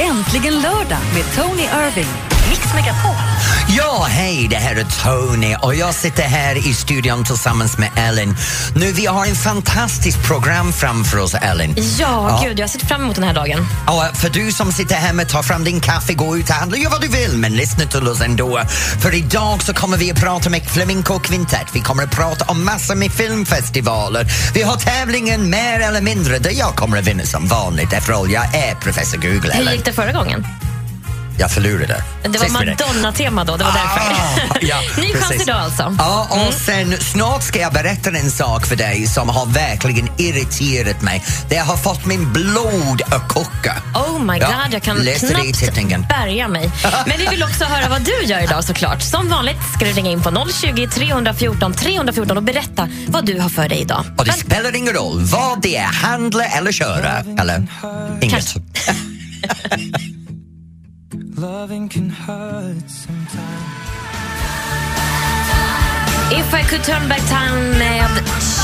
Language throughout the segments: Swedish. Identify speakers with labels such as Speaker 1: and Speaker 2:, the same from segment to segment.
Speaker 1: Äntligen lördag med Tony Irving. Mix Megapol.
Speaker 2: Ja, hej, det här är Tony och jag sitter här i studion tillsammans med Ellen. Nu, vi har en fantastisk program framför oss, Ellen.
Speaker 3: Ja, gud, jag har sett fram emot den här dagen.
Speaker 2: Ja, för du som sitter hemma, ta fram din kaffe, gå ut och handla, gör vad du vill, men lyssna till oss ändå. För idag så kommer vi att prata med Flamenco Quintet. Vi kommer att prata om massor med filmfestivaler. Vi har tävlingen Mer eller mindre, där jag kommer att vinna som vanligt eftersom jag är professor Google,
Speaker 3: Hur
Speaker 2: Ellen.
Speaker 3: gick det förra gången?
Speaker 2: Jag förlorade.
Speaker 3: Det var
Speaker 2: Sist minut.
Speaker 3: Madonna-tema då, det var därför.
Speaker 2: Ah, ja,
Speaker 3: Ny chans
Speaker 2: precis.
Speaker 3: idag alltså.
Speaker 2: Ja, och sen snart ska jag berätta en sak för dig som har verkligen irriterat mig. Det har fått min blod att koka.
Speaker 3: Oh my
Speaker 2: Ja,
Speaker 3: god, jag kan
Speaker 2: läste det i tittningen.
Speaker 3: knappt bärga mig. Men vi vill också höra vad du gör idag såklart. Som vanligt ska du ringa in på 020 314 314 och berätta vad du har för dig idag.
Speaker 2: Och det spelar ingen roll vad det är, handla eller köra. Eller inget.
Speaker 3: Kanske.
Speaker 4: Loving can hurt sometimes.
Speaker 3: If I could turn back time med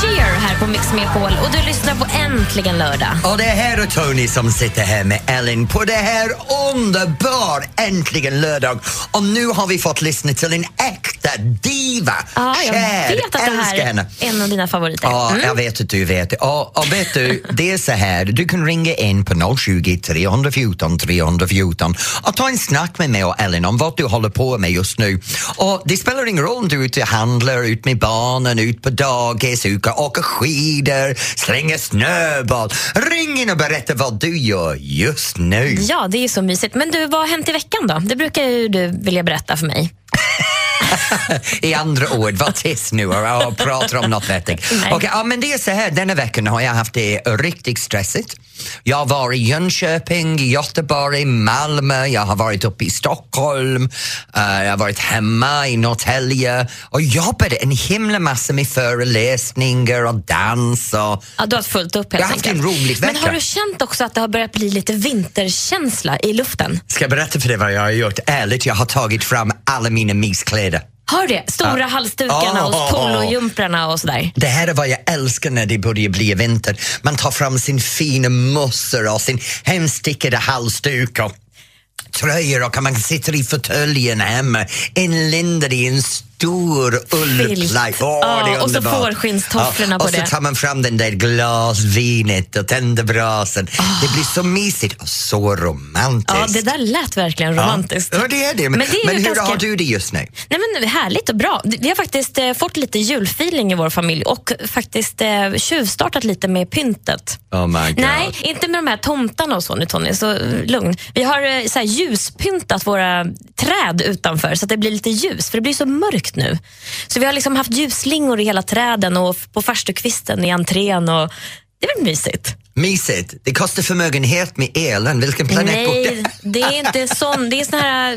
Speaker 3: Cheer här på Mix Megapol och du lyssnar på Äntligen lördag.
Speaker 2: Och det här är Tony som sitter här med Ellen på det här underbar äntligen lördag. Och nu har vi fått lyssna till en äkta diva.
Speaker 3: Ja, jag
Speaker 2: Kär,
Speaker 3: vet att det här
Speaker 2: älskar henne.
Speaker 3: är en av dina favoriter.
Speaker 2: Ja, jag vet att du vet. Och, och vet du, det är så här, du kan ringa in på 020 314 314 och ta en snack med mig och Ellen om vad du håller på med just nu. Och det spelar ingen roll om du är ute och handlar, ut med barnen, ut på dagis, ut och åker skidor, slänger snöboll. Ring in och berätta vad du gör just nu.
Speaker 3: Ja, det är ju så mysigt. Men du, vad har hänt i veckan då? Det brukar ju du vilja berätta för mig.
Speaker 2: I andra ord, var tyst nu och och prata om något vettigt.
Speaker 3: Nej.
Speaker 2: Okej, ja, men det är så här, denna veckan har jag haft det riktigt stressigt. Jag var i Jönköping, Göteborg, Malmö, jag har varit uppe i Stockholm, eh, jag har varit hemma i Norrtälje och jobbade en himla massa med föreläsningar och dans och
Speaker 3: Ja, du har haft fullt upp helt
Speaker 2: Jag har haft en rolig
Speaker 3: Men har
Speaker 2: vecka.
Speaker 3: du känt också att det har börjat bli lite vinterkänsla i luften?
Speaker 2: Ska jag berätta för dig vad jag har gjort? Ärligt, jag har tagit fram alla mina myskläder.
Speaker 3: Har det? Stora
Speaker 2: Ja.
Speaker 3: halsdukarna
Speaker 2: Åh.
Speaker 3: och pollojumprarna och sådär.
Speaker 2: Det här är vad jag älskar när det börjar bli vinter. Man tar fram sin fina mössa och sin hemstickade halsduk och tröjor och man sitter i fåtöljen hemma inlindad i en stor ullplagg. Åh,
Speaker 3: Ja,
Speaker 2: det är
Speaker 3: och så
Speaker 2: underbart.
Speaker 3: fårskinnstofflorna på
Speaker 2: och
Speaker 3: det.
Speaker 2: så tar man fram den där glasvinet och tänder brasan. Det blir så mysigt och så romantiskt.
Speaker 3: Ah. Ja, det där lät verkligen romantiskt.
Speaker 2: Ja, det är det. Men,
Speaker 3: Men det är ju
Speaker 2: hur
Speaker 3: ganska-
Speaker 2: har du det just nu?
Speaker 3: Nej, men härligt och bra. Vi har faktiskt eh, fått lite julfeeling i vår familj och faktiskt eh, tjuvstartat lite med pyntet.
Speaker 2: Oh my God.
Speaker 3: Nej, inte med de här tomtarna och så nu Tony, så eh, lugn. Vi har eh, så här, ljuspyntat våra träd utanför så att det blir lite ljus, för det blir så mörkt nu. Så vi har liksom haft ljusslingor i hela träden och f- på farstukvisten i entrén. Och, det är väl mysigt?
Speaker 2: Mysigt. Det kostar förmögenhet med elen. Vilken planet går det?
Speaker 3: Nej, det är inte sån. Det är sån här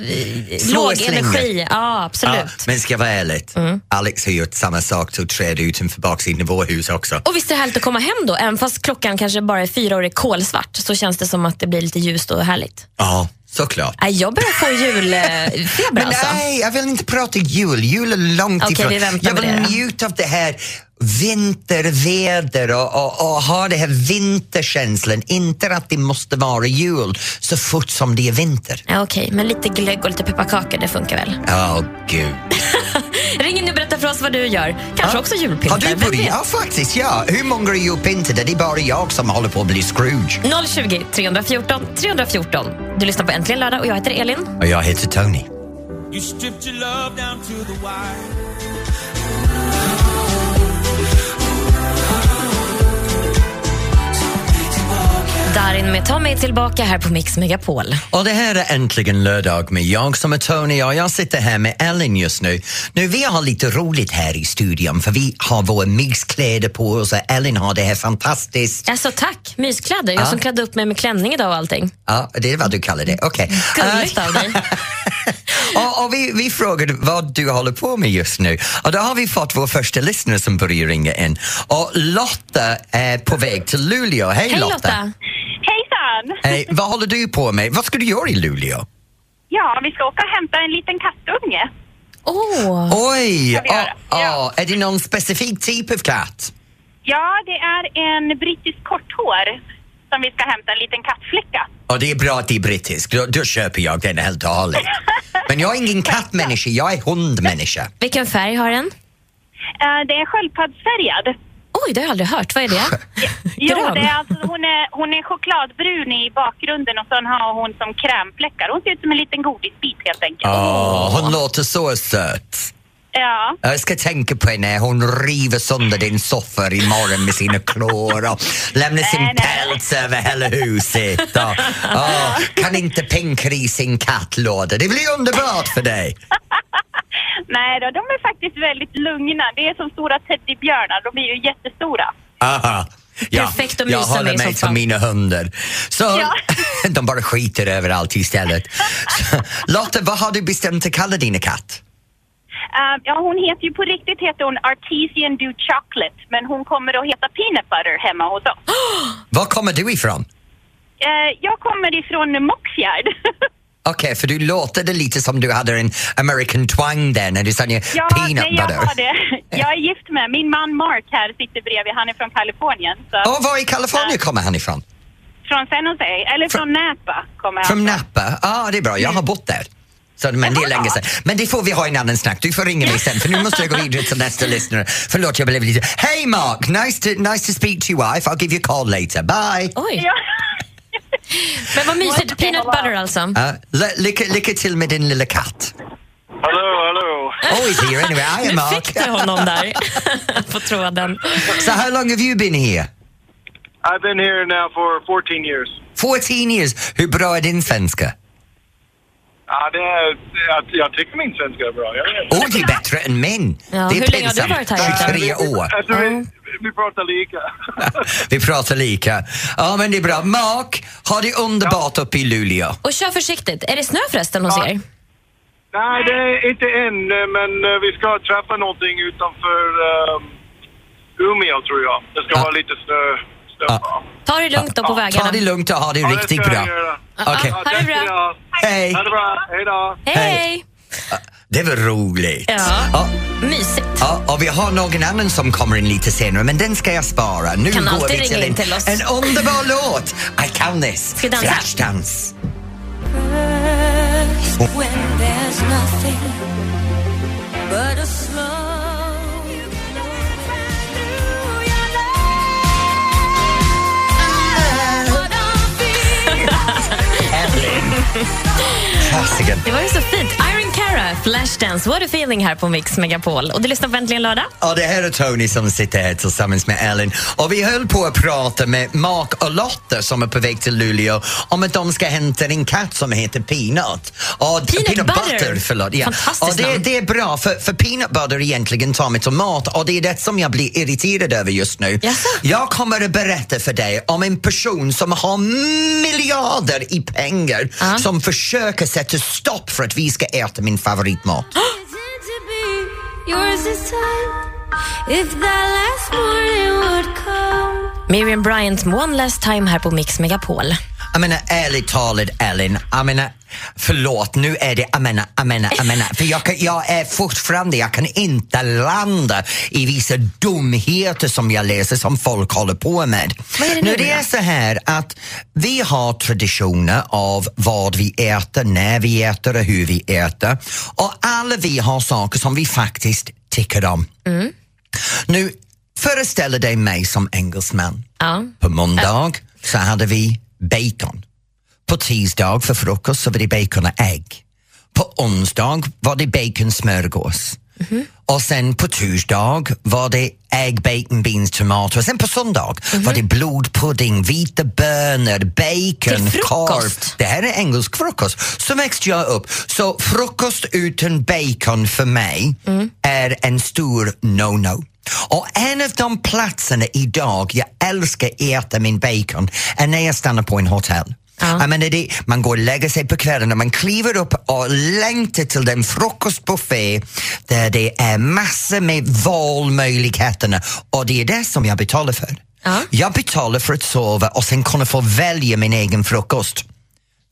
Speaker 3: eh,
Speaker 2: Små
Speaker 3: låg
Speaker 2: slingor.
Speaker 3: energi. Ja, absolut.
Speaker 2: Ja, men ska jag vara ärlig, Alex har gjort samma sak till träd utanför baksidan av vår hus också.
Speaker 3: Och visst är det härligt att komma hem då? Även fast klockan kanske bara är fyra och det är kolsvart så känns det som att det blir lite ljust och härligt.
Speaker 2: Ja, såklart.
Speaker 3: Nej, Jag börjar få julfeber
Speaker 2: Men
Speaker 3: alltså.
Speaker 2: nej, jag vill inte prata jul. Jul är långt
Speaker 3: Okej,
Speaker 2: ifrån.
Speaker 3: vi väntar
Speaker 2: jag vill
Speaker 3: med det då.
Speaker 2: njuta av det här vinterväder och, och, och ha den här vinterkänslan. Inte att det måste vara jul så fort som det är vinter.
Speaker 3: Ja, Okej, men lite glögg och lite pepparkakor, det funkar väl?
Speaker 2: Åh, gud.
Speaker 3: Ring in och berätta för oss vad du gör. Kanske också
Speaker 2: Har
Speaker 3: julpyntar.
Speaker 2: du
Speaker 3: vem
Speaker 2: börjat?
Speaker 3: vet?
Speaker 2: Ja, faktiskt. Ja. Hur många är julpyntade? Det är bara jag som håller på att bli Scrooge.
Speaker 3: 020 314 314. Du lyssnar på Äntligen lördag och jag heter Elin.
Speaker 2: Och jag heter Tony.
Speaker 4: You stripped your love down to the wire.
Speaker 3: Darin med Ta mig tillbaka här på Mix Megapol.
Speaker 2: Och det här är äntligen lördag med jag som är Tony och jag sitter här med Ellen just nu. Nu vi har lite roligt här i studion för vi har våra myskläder på oss och Ellen har det här fantastiskt.
Speaker 3: Alltså tack, myskläder. Jag som klädde upp mig med klänning idag och allting.
Speaker 2: Ja, det är vad du kallar det, okej.
Speaker 3: Gulligt
Speaker 2: Eh,
Speaker 3: av dig.
Speaker 2: och, och vi, vi frågade vad du håller på med just nu och då har vi fått vår första lyssnare som börjar ringa in. Och Lotta är på väg till Luleå. Hej,
Speaker 3: Hej Lotta.
Speaker 5: Hejsan!
Speaker 2: Hej, vad håller du på med? Vad ska du göra i Luleå?
Speaker 5: Ja, vi ska åka och hämta en liten kattunge.
Speaker 3: Åh, oh,
Speaker 2: Oj!
Speaker 5: vi göra?
Speaker 2: ah,
Speaker 5: Ja.
Speaker 2: ah, är det någon specifik typ av katt?
Speaker 5: Ja, det är en brittisk korthår som vi ska hämta en liten kattflicka.
Speaker 2: Och det är bra att det är brittisk, då, då köper jag den helt och hållet. Men jag är ingen kattmänniska, jag är hundmänniska.
Speaker 3: Vilken färg har den?
Speaker 5: Eh, det är en sköldpaddsfärgad.
Speaker 3: Oj, det har jag aldrig hört. Vad är det?
Speaker 5: Jo,
Speaker 3: Grön?
Speaker 5: det är alltså, hon, är, hon är chokladbrun i bakgrunden och sen har hon som krämpläckar. Hon ser ut som en liten godisbit helt enkelt.
Speaker 2: Åh, hon låter så söt.
Speaker 5: Ja.
Speaker 2: Jag ska tänka på henne, hon river sönder din soffa imorgon med sina klor och lämnar sin
Speaker 5: Nej, nej.
Speaker 2: päls över hela huset. Och, åh, kan inte pinka i sin kattlåda, det blir underbart för dig.
Speaker 5: Nej då, de är faktiskt väldigt lugna. Det är som stora teddybjörnar. De är ju jättestora.
Speaker 2: Aha. Ja,
Speaker 3: Perfekt att
Speaker 2: jag
Speaker 3: mysa
Speaker 2: håller
Speaker 3: med i
Speaker 2: mig
Speaker 3: soffan.
Speaker 2: som mina hundar. Så,
Speaker 5: Ja.
Speaker 2: de bara skiter överallt istället. Så, Lotta, vad har du bestämt att kalla din katt?
Speaker 5: Eh, ja, hon heter ju på riktigt heter hon Artesian Do Chocolate, men hon kommer att heta Peanut Butter hemma hos oss.
Speaker 2: Var kommer du ifrån?
Speaker 5: Eh, jag kommer ifrån Mockfjärd.
Speaker 2: Okej, för du låter det lite som du hade en American twang där när du sa
Speaker 5: ja,
Speaker 2: peanut
Speaker 5: nej, jag
Speaker 2: butter.
Speaker 5: har det. Jag är gift med min man Mark här sitter bredvid. Han är från Kalifornien. Så
Speaker 2: Och var i Kalifornien
Speaker 5: Nej.
Speaker 2: kommer han ifrån?
Speaker 5: Från San Jose, eller från Napa kommer han.
Speaker 2: Från Napa? Ja, ah, det är bra. Jag har bott där. Så, men det är
Speaker 5: Jaha.
Speaker 2: länge sedan. Men det får vi ha en annan snack. Du får ringa mig sen för nu måste jag gå vidare till nästa lyssnare. Förlåt, jag blev lite... Hej Mark! Nice to, nice to speak to your wife. I'll give you a call later. Bye!
Speaker 3: Oj,
Speaker 5: Ja.
Speaker 3: men vad mysigt. Peanut butter alltså.
Speaker 2: Uh, ly- lycka, lycka till med din lilla katt.
Speaker 6: Hallå, hallå.
Speaker 2: Always here anyway. I am
Speaker 3: Nu
Speaker 2: Mark.
Speaker 3: fick du honom där på tråden.
Speaker 2: So how long have you been here?
Speaker 6: I've been here now for 14 years.
Speaker 2: 14 years. Hur bra är din svenska?
Speaker 6: Ja, det är, jag, jag tycker min svenska är bra. Jag vet.
Speaker 2: Åh, det är bättre än min.
Speaker 3: Ja,
Speaker 2: det är
Speaker 3: hur länge har du varit här, Richard?
Speaker 2: 23 år.
Speaker 6: Jag tror Alltså, vi, vi pratar lika.
Speaker 2: Vi pratar lika. Ja, men det är bra. Mark, har det underbart uppe i Luleå?
Speaker 3: Och kör försiktigt. Är det snö förresten hos
Speaker 6: Ja.
Speaker 3: er?
Speaker 6: Nej, det är inte än, men eh, vi ska träffa någonting utanför um, Umeå, tror jag. Det ska
Speaker 2: Ja.
Speaker 6: vara lite snö. snö.
Speaker 2: Ja.
Speaker 3: Ta det lugnt då på
Speaker 2: Ta
Speaker 3: vägarna.
Speaker 2: det lugnt och ha det
Speaker 6: det
Speaker 2: riktigt
Speaker 6: ska jag
Speaker 2: bra.
Speaker 6: göra.
Speaker 3: Ja,
Speaker 2: Okej.
Speaker 3: Ha det bra.
Speaker 2: Hej!
Speaker 6: Ha det bra. Hej då.
Speaker 3: Hej!
Speaker 2: Hej. Det var roligt.
Speaker 3: Ja.
Speaker 2: Ja,
Speaker 3: Mysigt.
Speaker 2: Ja, och vi har någon annan som kommer in lite senare, men den ska jag spara. Nu
Speaker 3: Kan
Speaker 2: går
Speaker 3: alltid
Speaker 2: vi till
Speaker 3: ringa
Speaker 2: en,
Speaker 3: in till oss.
Speaker 2: en underbar låt. I kan this.
Speaker 3: vi dansa?
Speaker 2: Flashdance. Evelyn. Klassiken.
Speaker 3: Det var ju så fint. Iron Cara, Flashdance, What a feeling här på Mix Megapol. Och du lyssnar på Äntligen lördag.
Speaker 2: Ja, det här är Tony som sitter här tillsammans med Ellen. Och vi höll på att prata med Mark och Lotta som är på väg till Luleå om att de ska hämta en katt som heter Peanut. Och
Speaker 3: Peanut
Speaker 2: butter.
Speaker 3: Butter.
Speaker 2: förlåt. Ja.
Speaker 3: Fantastiskt
Speaker 2: Och det,
Speaker 3: namn.
Speaker 2: det är bra, för, för Peanut Butter är egentligen tar med tomat och det är det som jag blir irriterad över just nu.
Speaker 3: Jaså?
Speaker 2: Jag kommer att berätta för dig om en person som har miljarder i pengar
Speaker 3: Ja.
Speaker 2: som försöker sätta stopp för att vi ska äta min favoritmat.
Speaker 3: Miriam Bryant, One Last Time här på Mix Megapol.
Speaker 2: Jag menar ärligt talat Ellen, jag menar förlåt nu är det, jag menar, jag menar, jag menar, för jag, kan, jag är fortfarande, jag kan inte landa i vissa dumheter som jag läser som folk håller på med.
Speaker 3: Vad är det nu
Speaker 2: nu det
Speaker 3: då?
Speaker 2: är så här att vi har traditioner av vad vi äter, när vi äter och hur vi äter och alla vi har saker som vi faktiskt tycker om. Nu föreställ dig mig som engelsman.
Speaker 3: Ja.
Speaker 2: På måndag så hade vi bacon. På tisdag för frukost så var det bacon och ägg. På onsdag var det bacon smörgås.
Speaker 3: Mhm.
Speaker 2: Och sen på torsdag var det ägg, bacon, beans, tomater. Och sen på söndag
Speaker 3: Mhm.
Speaker 2: var det blodpudding, vita bönor, bacon,
Speaker 3: Till frukost?
Speaker 2: korv. Det här är engelsk frukost. Så växte jag upp. Så frukost utan bacon för mig är en stor no-no. Och en av de platserna idag jag älskar äta min bacon är när jag stannar på en hotell. Jag menar det, man går och lägger sig på kvällen och man kliver upp och längtar till den frukostbuffé där det är massor med valmöjligheterna och det är det som jag betalar för. Jag betalar för att sova och sen kunna få välja min egen frukost.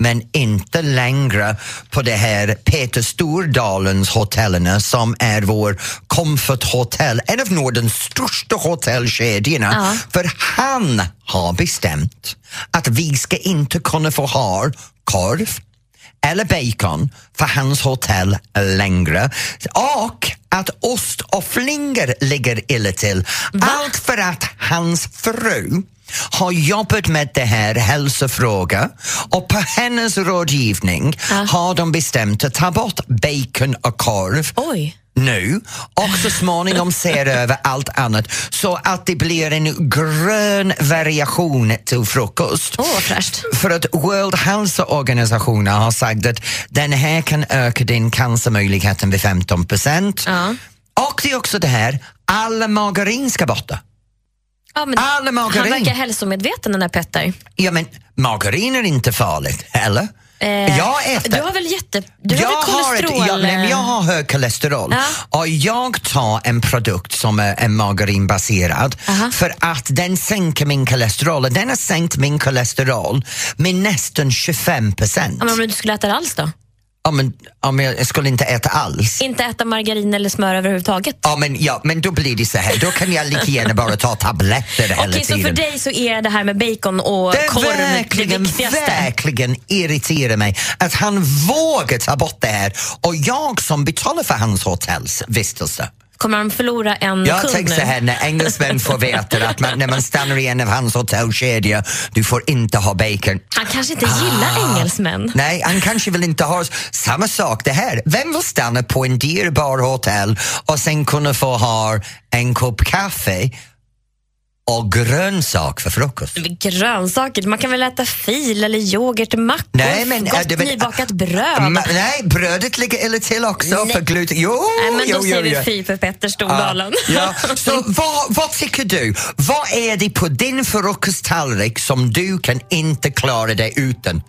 Speaker 2: men inte längre på det här Peter Stordalens hotellerna som är vår Comfort Hotel, en av Nordens största hotellkedjorna.
Speaker 3: Ja.
Speaker 2: För han har bestämt att vi ska inte kunna få ha korv eller bacon för hans hotell längre. Och att ost och flingor ligger illa till. Allt för att hans fru har jobbat med det här hälsofrågan och på hennes rådgivning har de bestämt att ta bort bacon och korv
Speaker 3: Oj.
Speaker 2: nu och så småningom ser över allt annat så att det blir en grön variation till frukost.
Speaker 3: Åh, vad fräscht.
Speaker 2: För att World Health Organisationen har sagt att den här kan öka din cancermöjligheten med 15 procent.
Speaker 3: Ja.
Speaker 2: Och det är också det här, alla margarin ska borta.
Speaker 3: Ja, men
Speaker 2: Alla margarin.
Speaker 3: Han verkar hälsomedveten den här Petter.
Speaker 2: Ja men margarin är inte farligt, eller?
Speaker 3: Eh,
Speaker 2: jag äter...
Speaker 3: Du har väl jätte... Du har väl
Speaker 2: ett-
Speaker 3: kolesterol? eh?
Speaker 2: jag, nej, men jag har hög kolesterol
Speaker 3: Ja.
Speaker 2: och jag tar en produkt som är, är margarinbaserad för att den sänker min kolesterol och den har sänkt min kolesterol med nästan 25 procent.
Speaker 3: Ja, men om du inte skulle äta det alls då?
Speaker 2: Ja, men, ja, men jag skulle inte äta alls.
Speaker 3: Inte äta margarin eller smör överhuvudtaget?
Speaker 2: Ja men, ja, men då blir det så här, då kan jag lika gärna bara ta tabletter hela
Speaker 3: Okej, så
Speaker 2: tiden.
Speaker 3: för dig så är det här med bacon och
Speaker 2: Det
Speaker 3: korv det
Speaker 2: verkligen,
Speaker 3: viktigaste?
Speaker 2: verkligen irriterar mig att han vågar ta bort det här och jag som betalar för hans hotellsvistelse.
Speaker 3: Kommer han förlora en
Speaker 2: Jag
Speaker 3: kund
Speaker 2: tänker
Speaker 3: nu?
Speaker 2: så här, när engelsmän får veta att man, när man stannar i en av hans hotellkedjor, du får inte ha bacon.
Speaker 3: Han kanske inte gillar engelsmän.
Speaker 2: Ah. Nej, han kanske vill inte ha samma sak det här. Vem vill stanna på en dyrbar hotell och sen kunna få ha en kopp kaffe och grönsak för frukost?
Speaker 3: Grönsaker, man kan väl äta fil eller yoghurt, mackor,
Speaker 2: Nej, men, äh,
Speaker 3: gott
Speaker 2: det- men-
Speaker 3: nybakat bröd.
Speaker 2: Ma- nej, brödet ligger illa till också
Speaker 3: Nej.
Speaker 2: för gluten. Jo,
Speaker 3: Nej, men då
Speaker 2: jo, jo,
Speaker 3: säger
Speaker 2: jo. Ah,
Speaker 3: vi fy för Petter Stordalen.
Speaker 2: Ja, ja. Så vad, vad tycker du? Vad är det på din frukosttallrik som du kan inte klara dig utan?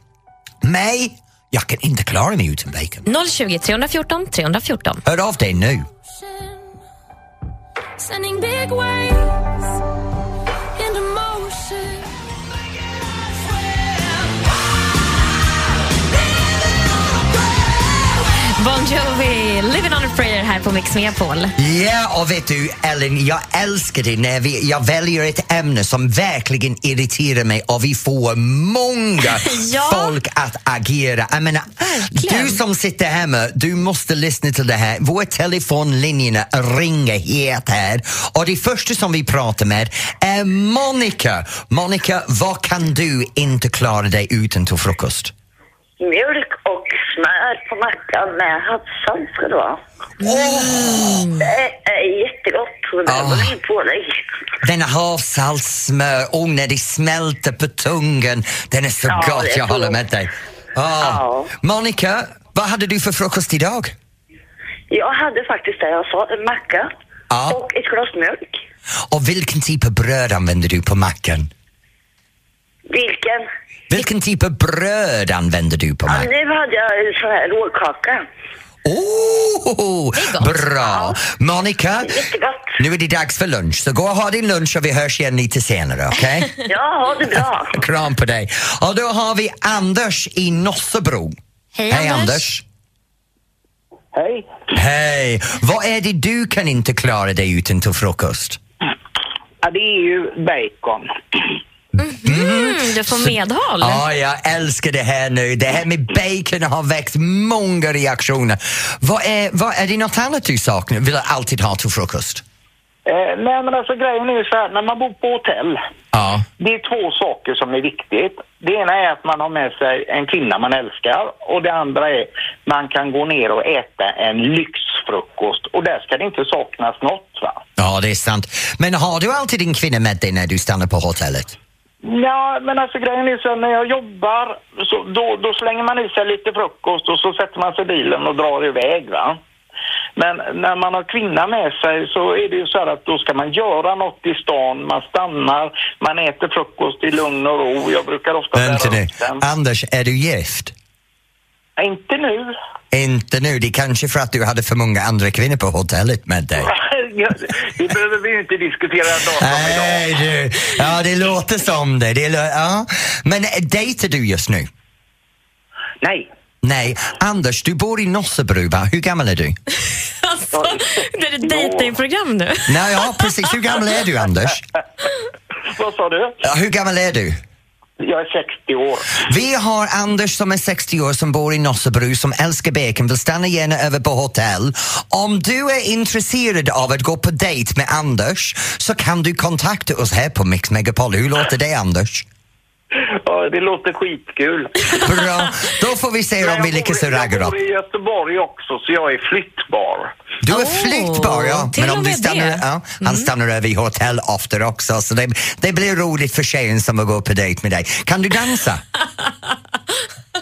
Speaker 2: Mig? Jag kan inte klara mig utan bacon.
Speaker 3: 020 314 314.
Speaker 2: Hör av dig nu.
Speaker 7: Sending big waves into motion.
Speaker 3: Bon Jovi, Living on a prayer här på Mix Megapol.
Speaker 2: Ja, och vet du Ellen, jag älskar det när vi, jag väljer ett ämne som verkligen irriterar mig och vi får många
Speaker 3: Ja.
Speaker 2: folk att agera. Jag menar,
Speaker 3: Verkligen.
Speaker 2: du som sitter hemma, du måste lyssna till det här. Våra telefonlinjerna ringer het här och det första som vi pratar med är Monica. Monica, vad kan du inte klara dig utan till frukost?
Speaker 8: Mjölk och smör på mackan med havssalt ska det vara.
Speaker 9: Mm.
Speaker 8: Det är jättegott. Det
Speaker 2: Ah.
Speaker 8: behöver inget pålägg.
Speaker 2: Den havssaltsmör, åh när det smälter på tungan. Den är så
Speaker 8: Ja,
Speaker 2: gott,
Speaker 8: det är
Speaker 2: jag
Speaker 8: så
Speaker 2: håller
Speaker 8: gott.
Speaker 2: med dig. Ah.
Speaker 8: Ja.
Speaker 2: Monica, vad hade du för frukost idag?
Speaker 8: Jag hade faktiskt det jag sa, en macka
Speaker 9: Ah.
Speaker 2: Ja.
Speaker 8: och ett glas mjölk.
Speaker 2: Och vilken typ av bröd använder du på mackan?
Speaker 8: Vilken?
Speaker 2: Vilken typ av bröd använder du på
Speaker 8: Ja,
Speaker 2: mackan?
Speaker 8: nu hade jag en sån här råkaka.
Speaker 2: Oh, bra! Monica,
Speaker 8: Jättegott.
Speaker 2: nu är det dags för lunch, så gå och ha din lunch och vi hörs igen lite senare, okej?
Speaker 8: Ja, ha det bra.
Speaker 2: Kram på dig. Och då har vi Anders i Nossebro.
Speaker 3: Hej,
Speaker 2: Hej Anders.
Speaker 9: Hej.
Speaker 2: Hej! Vad är det du kan inte klara dig utan till frukost?
Speaker 9: Ja, det är ju bacon.
Speaker 3: Mm, du får medhåll.
Speaker 2: Mhm. Ja, jag älskar det här nu. Det här med bacon har väckt många reaktioner. Vad är, vad, är det något annat du saknar, vill alltid ha till frukost?
Speaker 9: Eh, nej, men alltså grejen är ju så här, när man bor på hotell,
Speaker 2: Ja.
Speaker 9: det är två saker som är viktigt. Det ena är att man har med sig en kvinna man älskar och det andra är man kan gå ner och äta en lyxfrukost och där ska det inte saknas något va.
Speaker 2: Ja, det är sant. Men har du alltid din kvinna med dig när du stannar på hotellet?
Speaker 9: Ja, men alltså grejen är så här, när jag jobbar så då, då slänger man i sig lite frukost och så sätter man sig i bilen och drar iväg va. Men när man har kvinna med sig så är det ju så här att då ska man göra något i stan, man stannar, man äter frukost i lugn och ro. Jag brukar ofta
Speaker 2: Vänta nu.
Speaker 9: den.
Speaker 2: Anders, är du gift?
Speaker 9: Ja, Inte nu.
Speaker 2: Inte nu. Det är kanske för att du hade för många andra kvinnor på hotellet med dig.
Speaker 9: det behöver vi ju inte diskutera dagen idag.
Speaker 2: Nej, du. Ja, det låter som det. det lå- ja. Men eh, dejtar du just nu?
Speaker 8: Nej.
Speaker 2: Nej, Anders, du bor i Nossebro, va? Hur gammal är du?
Speaker 3: Alltså, det är ett dejtingprogram nu.
Speaker 2: Nej, ja, precis. Hur gammal är du, Anders?
Speaker 9: Vad sa du?
Speaker 2: Ja, hur gammal är du?
Speaker 9: Jag är 60 år.
Speaker 2: Vi har Anders som är 60 år som bor i Nossebro som älskar bacon, vill stanna gärna över på hotell. Om du är intresserad av att gå på dejt med Anders så kan du kontakta oss här på Mix Megapol. Hur låter det Anders?
Speaker 9: Ja, det låter skitkul.
Speaker 2: Bra, då får vi se om vi lyckas
Speaker 9: jag, bor,
Speaker 2: ragga
Speaker 9: jag
Speaker 2: upp.
Speaker 9: bor i Göteborg också, så jag är flyttbar.
Speaker 2: Du är
Speaker 3: Oh,
Speaker 2: flyttbar, ja.
Speaker 3: till
Speaker 2: Men
Speaker 3: och
Speaker 2: om du
Speaker 3: med
Speaker 2: stannar,
Speaker 3: det. Mm.
Speaker 2: ja, han stannar över i hotell ofta också så det, det blir roligt för tjejen som vill gå på dejt med dig. Kan du dansa?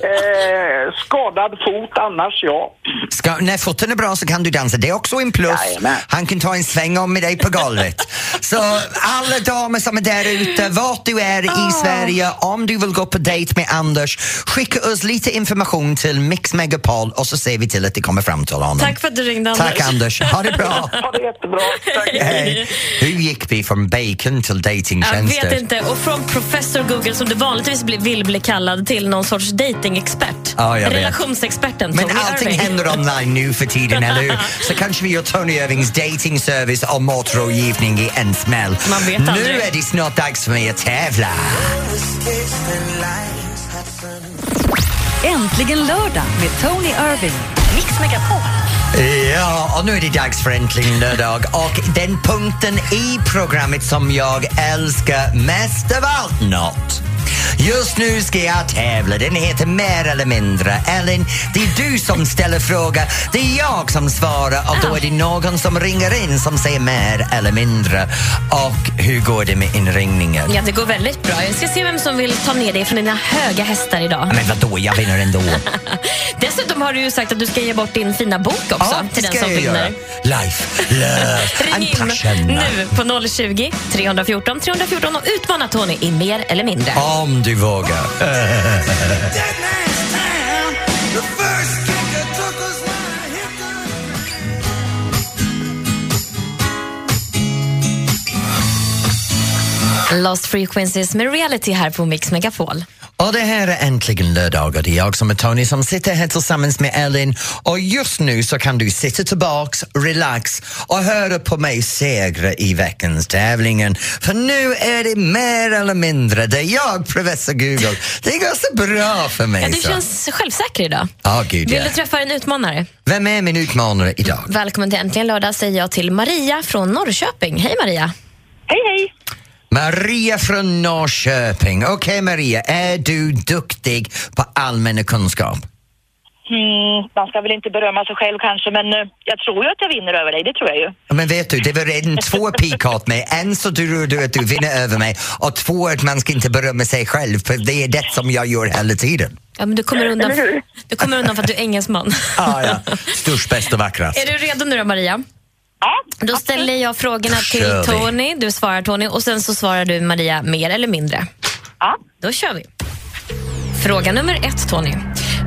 Speaker 9: Eh, skadad fot annars, ja.
Speaker 2: Ska, när foten är bra så kan du dansa, det är också en plus.
Speaker 9: Jajamän.
Speaker 2: Han kan ta en sväng om med dig på golvet. så alla damer som är där ute, vart du är
Speaker 3: Ah.
Speaker 2: i Sverige, om du vill gå på dejt med Anders, skicka oss lite information till Mix Megapol och så ser vi till att det kommer fram till honom.
Speaker 3: Tack för att du ringde Anders.
Speaker 2: Tack Anders, ha det bra!
Speaker 9: Ha det jättebra. Tack.
Speaker 2: Hej. Hur gick vi från bacon till
Speaker 3: Jag
Speaker 2: datingtjänster?
Speaker 3: vet inte. Och från professor Google som du vanligtvis bli- vill bli kallad till någon sorts datingexpert.
Speaker 2: Ja, jag vet.
Speaker 3: Relationsexperten
Speaker 2: Men
Speaker 3: Tony
Speaker 2: allting
Speaker 3: Irving.
Speaker 2: händer online nu för tiden, eller hur? Så kanske vi gör Tony Irvings datingservice och matrådgivning i en smäll.
Speaker 3: Man vet
Speaker 2: nu
Speaker 3: aldrig.
Speaker 2: är det snart dags för mig att tävla.
Speaker 1: Äntligen lördag med Tony Irving. Mix Megapol.
Speaker 2: Ja, och nu är det dags för Äntligen lördag och den punkten i programmet som jag älskar mest av allt något. Just nu ska jag tävla. Den heter Mer eller mindre. Ellen, det är du som ställer frågan. Det är jag som svarar och då är
Speaker 3: Ah.
Speaker 2: det någon som ringer in som säger mer eller mindre. Och hur går det med inringningen?
Speaker 3: Ja, det går väldigt bra. Jag ska se vem som vill ta ner dig från dina höga hästar idag.
Speaker 2: Men vadå, jag vinner ändå.
Speaker 3: Dessutom har du ju sagt att du ska ge bort din fina bok också till den som vinner.
Speaker 2: Life, love
Speaker 3: Ring
Speaker 2: and passion.
Speaker 3: in nu på 020 314 314 och utmana Tony i mer eller mindre.
Speaker 2: Om du vågar.
Speaker 3: Lost Frequencies med Reality här på Mix Megapol.
Speaker 2: Och det här är äntligen lördag och det är jag som är Tony som sitter här tillsammans med Elin och just nu så kan du sitta tillbaks, relax och höra på mig segra i veckans tävlingen. För nu är det mer eller mindre det är jag, professor Google. Det går så bra för mig.
Speaker 3: Ja, du
Speaker 2: så.
Speaker 3: känns självsäker idag.
Speaker 2: Ja, gud
Speaker 3: Vill
Speaker 2: ja.
Speaker 3: du träffa en utmanare?
Speaker 2: Vem är min utmanare idag?
Speaker 3: Välkommen till Äntligen lördag säger jag till Maria från Norrköping. Hej Maria!
Speaker 5: Hej, hej!
Speaker 2: Maria från Norrköping. Okej Maria, är du duktig på allmänna kunskap?
Speaker 5: Mm, man ska väl inte berömma sig själv kanske, men eh, jag tror ju att jag vinner över dig, det tror jag ju.
Speaker 2: Ja, Men vet du, det var redan två pikar åt mig. En så tror du att du vinner över mig och två att man ska inte berömma sig själv för det är det som jag gör hela tiden.
Speaker 3: Ja, men du, kommer undan, du kommer undan för att du är engelsman.
Speaker 2: Ah, ja. Störst, bäst och vackrast.
Speaker 3: Är du redo nu då Maria?
Speaker 5: Ja,
Speaker 3: Då ställer jag frågorna
Speaker 2: kör
Speaker 3: till
Speaker 2: vi.
Speaker 3: Tony, du svarar Tony och sen så svarar du Maria mer eller mindre.
Speaker 5: ja.
Speaker 3: Då kör vi. Fråga nummer ett Tony.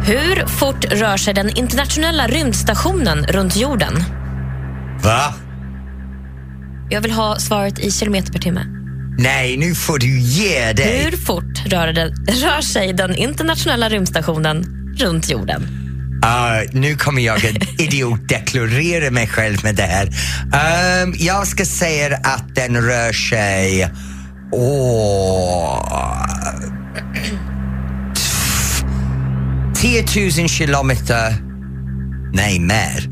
Speaker 3: Hur fort rör sig den internationella rymdstationen runt jorden?
Speaker 2: Va?
Speaker 3: Jag vill ha svaret i kilometer per timme.
Speaker 2: Nej, nu får du ge dig.
Speaker 3: Hur fort rör, den, rör sig den internationella rymdstationen runt jorden?
Speaker 2: Ah, nu kommer jag att idiotdeklarera mig själv med det här. Ehm, jag ska säga att den rör sig... Åh... 10 000 kilometer... Nej, mer.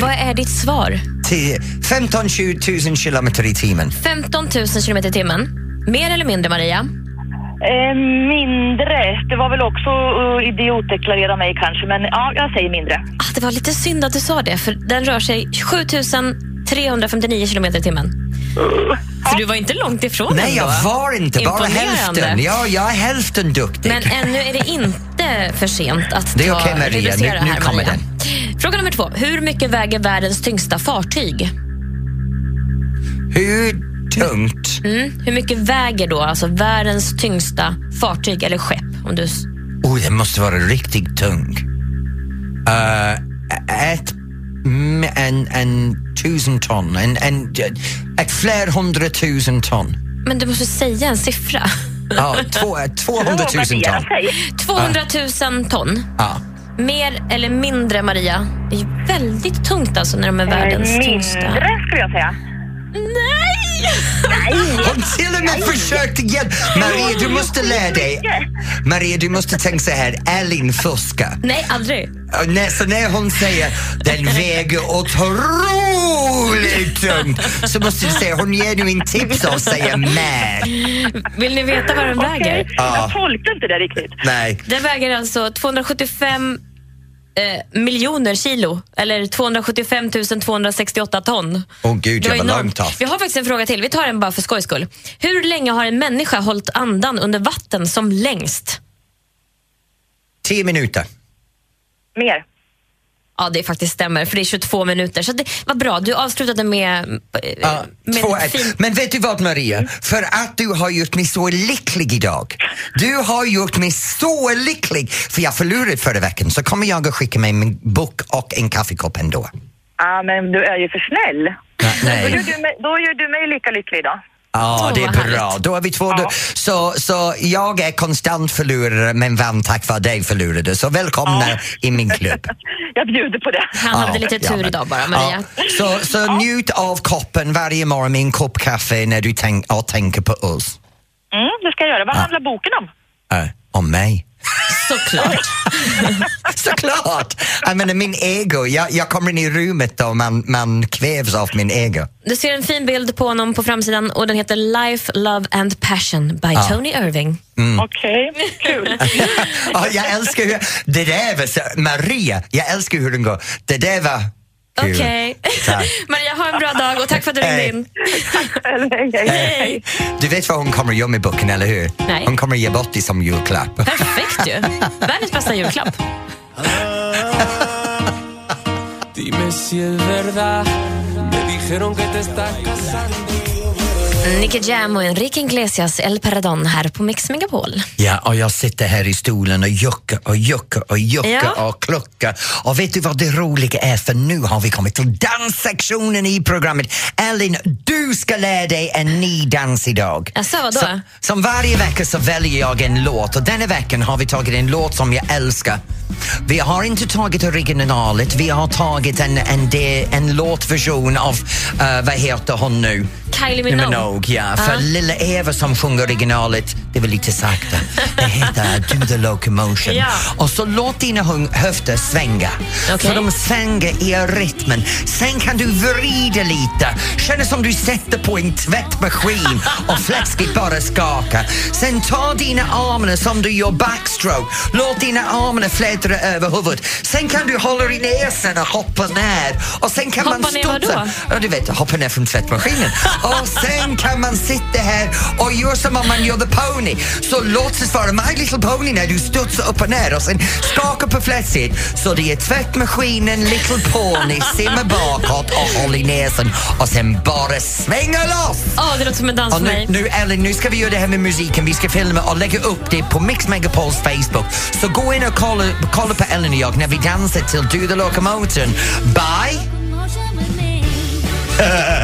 Speaker 3: Vad
Speaker 2: Mer.
Speaker 3: är ditt svar?
Speaker 2: 10 15 20 000 kilometer i timmen.
Speaker 3: 15 000 kilometer i timmen. Mer eller mindre, Maria?
Speaker 5: Eh, mindre. Det var väl också uh, idiotdeklarera mig kanske, men ja, jag säger mindre.
Speaker 3: Ah, det var lite synd att du sa det, för den rör sig 7 359 kilometer i timmen. Så du var inte långt ifrån
Speaker 2: Nej,
Speaker 3: ändå.
Speaker 2: jag var inte. Bara
Speaker 3: Imponerande.
Speaker 2: hälften. Ja, jag är hälften duktig.
Speaker 3: Men ännu är det inte för sent att
Speaker 2: Det är
Speaker 3: ta,
Speaker 2: okej, Maria. Nu-
Speaker 3: reducera
Speaker 2: nu
Speaker 3: här,
Speaker 2: kommer
Speaker 3: Maria. Fråga nummer två. Hur mycket väger världens tyngsta fartyg?
Speaker 2: Hur tungt?
Speaker 3: Mm. Hur mycket väger då alltså världens tyngsta fartyg eller skepp? Om du... s-
Speaker 2: Oh, den måste vara riktigt tung. Eh, ett, mm, en, en tusen ton, en, en, ett fler hundratusen ton.
Speaker 3: Men du måste säga en siffra.
Speaker 2: Ja, två, 200 000 ton.
Speaker 8: Värderar sig.
Speaker 3: 200 000 ton.
Speaker 2: Ja.
Speaker 3: Mer eller mindre, Maria? Det är ju väldigt tungt alltså när de är världens
Speaker 5: Eh,
Speaker 3: tyngsta.
Speaker 8: Mindre skulle jag säga.
Speaker 3: Nej!
Speaker 2: Hon till och med försökte hjälpa. Maria, du måste lära dig. Maria, du måste tänka så här. Elin fuskar.
Speaker 3: Nej, aldrig.
Speaker 2: Och när- Så när hon säger den väger otroligt tungt så måste du säga hon ger nu en tips och säger mer.
Speaker 3: Vill ni veta vad den väger?
Speaker 2: Ja.
Speaker 8: Jag tolkar inte det riktigt.
Speaker 2: Nej.
Speaker 3: Den väger alltså 275 eh, miljoner kilo, eller 275 268 ton.
Speaker 2: Åh gud,
Speaker 3: Det var
Speaker 2: jag var
Speaker 3: enormt.
Speaker 2: långt off.
Speaker 3: Vi har faktiskt en fråga till. Vi tar den bara för skojs skull. Hur länge har en människa hållit andan under vatten som längst?
Speaker 2: Tio
Speaker 3: Eh,
Speaker 2: minuter.
Speaker 8: Mer.
Speaker 3: Ja, det faktiskt stämmer, för det är 22 minuter. Så det var bra. Du avslutade med, eh,
Speaker 2: Ja,
Speaker 3: med
Speaker 2: Ah, två,
Speaker 3: en
Speaker 2: ett.
Speaker 3: fin...
Speaker 2: Men vet du vad Maria? För att du har gjort mig så lycklig idag. Du har gjort mig så lycklig. För jag förlorade förra veckan så kommer jag att skicka med min bok och en kaffekopp ändå.
Speaker 8: Ja, men du är ju för snäll. Då gör,
Speaker 2: Nej.
Speaker 8: du mig, då gör du mig lika lycklig idag.
Speaker 2: Ja,
Speaker 3: Åh,
Speaker 2: det är
Speaker 3: vad
Speaker 2: bra.
Speaker 3: härligt.
Speaker 2: Då har vi två. du- Så, så jag är konstant förlorare men vann tack vare dig förlorade. Så välkomna i min klubb.
Speaker 8: Jag bjuder på det.
Speaker 3: Han hade
Speaker 2: Ja,
Speaker 3: lite
Speaker 2: ja,
Speaker 3: tur
Speaker 2: men-
Speaker 3: idag bara, Maria.
Speaker 2: ja. Så, så njut av koppen varje morgon med en kopp kaffe när du tänk, och tänker på oss.
Speaker 8: Mm, det ska jag göra. Vad handlar boken om?
Speaker 2: Äh, om mig.
Speaker 3: Såklart.
Speaker 2: Såklart! Jag menar min ego, jag, jag kommer in i rummet och man, man kvävs av min ego.
Speaker 3: Du ser en fin bild på honom på framsidan och den heter Life, Love and Passion by Tony Irving.
Speaker 8: Okej, kul.
Speaker 2: Ja, jag älskar hur, det där var, så, Maria, jag älskar hur den går. Det där var kul.
Speaker 3: Okej.
Speaker 2: Tack.
Speaker 3: Maria, ha en bra dag och tack för att du ringde
Speaker 2: Hej.
Speaker 3: in.
Speaker 8: Eller, hej, hej, hej.
Speaker 2: Äh, Du vet vad hon kommer göra med boken, eller hur?
Speaker 3: Nej.
Speaker 2: Hon kommer ge bort det som julklapp.
Speaker 3: Perfekt ju. Världens bästa julklapp.
Speaker 4: Dime si es verdad. Me dijeron que te estás casando.
Speaker 3: Nicky Jam och Enrique Iglesias El Paradon här på Mix Megapol.
Speaker 2: Ja, och jag sitter här i stolen och juckar och juckar och juckar
Speaker 3: Ja.
Speaker 2: och kluckar. Och vet du vad det roliga är? För nu har vi kommit till danssektionen i programmet. Elin, du ska lära dig en ny dans idag.
Speaker 3: Jaså, Alltså, vadå?
Speaker 2: Så, som varje vecka så väljer jag en låt och denna veckan har vi tagit en låt som jag älskar. Vi har inte tagit originalet, vi har tagit en, en, del- en låtversion av, eh, vad heter hon nu?
Speaker 3: Kylie Minogue.
Speaker 2: ja. För
Speaker 3: Ja.
Speaker 2: lilla Eva som sjunger originalet, det var lite sakta. Det heter Do the Locomotion.
Speaker 3: Ja.
Speaker 2: Och så låt dina hung- höfter svänga.
Speaker 3: Okej.
Speaker 2: Så de svänger i rytmen. Sen kan du vrida lite. Känner som du sätter på en tvättmaskin och fläsket bara skakar. Sen ta dina armar som du gör backstroke. Låt dina armar flätra över huvudet. Sen kan du hålla i näsan och hoppa ner. Och sen kan man
Speaker 3: Hoppa ner vadå?
Speaker 2: studsa. Ja, du vet, hoppa ner från tvättmaskinen. Och sen kan man sitta här och göra som om man gör the pony. Så låtsas vara My Little Pony när du studsar upp och ner och sen skakar på fläsket. Så det är tvättmaskinen, Little Pony, simma bakåt och håll i näsan och sen bara svänga loss!
Speaker 3: Åh, det låter som en dans
Speaker 2: Och
Speaker 3: för
Speaker 2: nu,
Speaker 3: mig.
Speaker 2: nu Ellen, nu ska vi göra det här med musiken. Vi ska filma och lägga upp det på Mix Megapols Facebook. Så gå in och kolla, kolla på Ellen och jag när vi dansar till Do the Locomotion. Bye!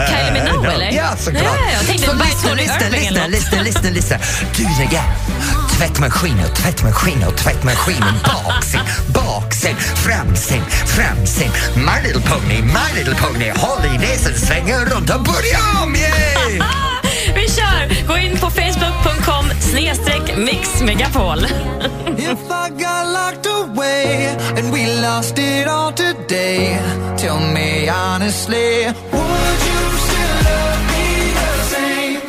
Speaker 3: Kylie Minogue eller?
Speaker 2: Ja, såklart.
Speaker 3: Ja, jag tänkte
Speaker 2: Så
Speaker 3: bara
Speaker 2: lyssna,
Speaker 3: Tony
Speaker 2: lyssna,
Speaker 3: Irving
Speaker 2: lyssna,
Speaker 3: eller något.
Speaker 2: lyssna, lyssna, lyssna. Du, det är tvättmaskiner, tvättmaskiner, tvättmaskiner. Baksen, baksen, framsen, framsen. My little pony, my little pony. Håll i näsan, svänger runt och börja om! Yay!
Speaker 3: Ah, Vi kör! Gå in på facebook.com snedstreck mixmegapol.
Speaker 4: If I got locked away and we lost it all today, tell me honestly, would you still love me the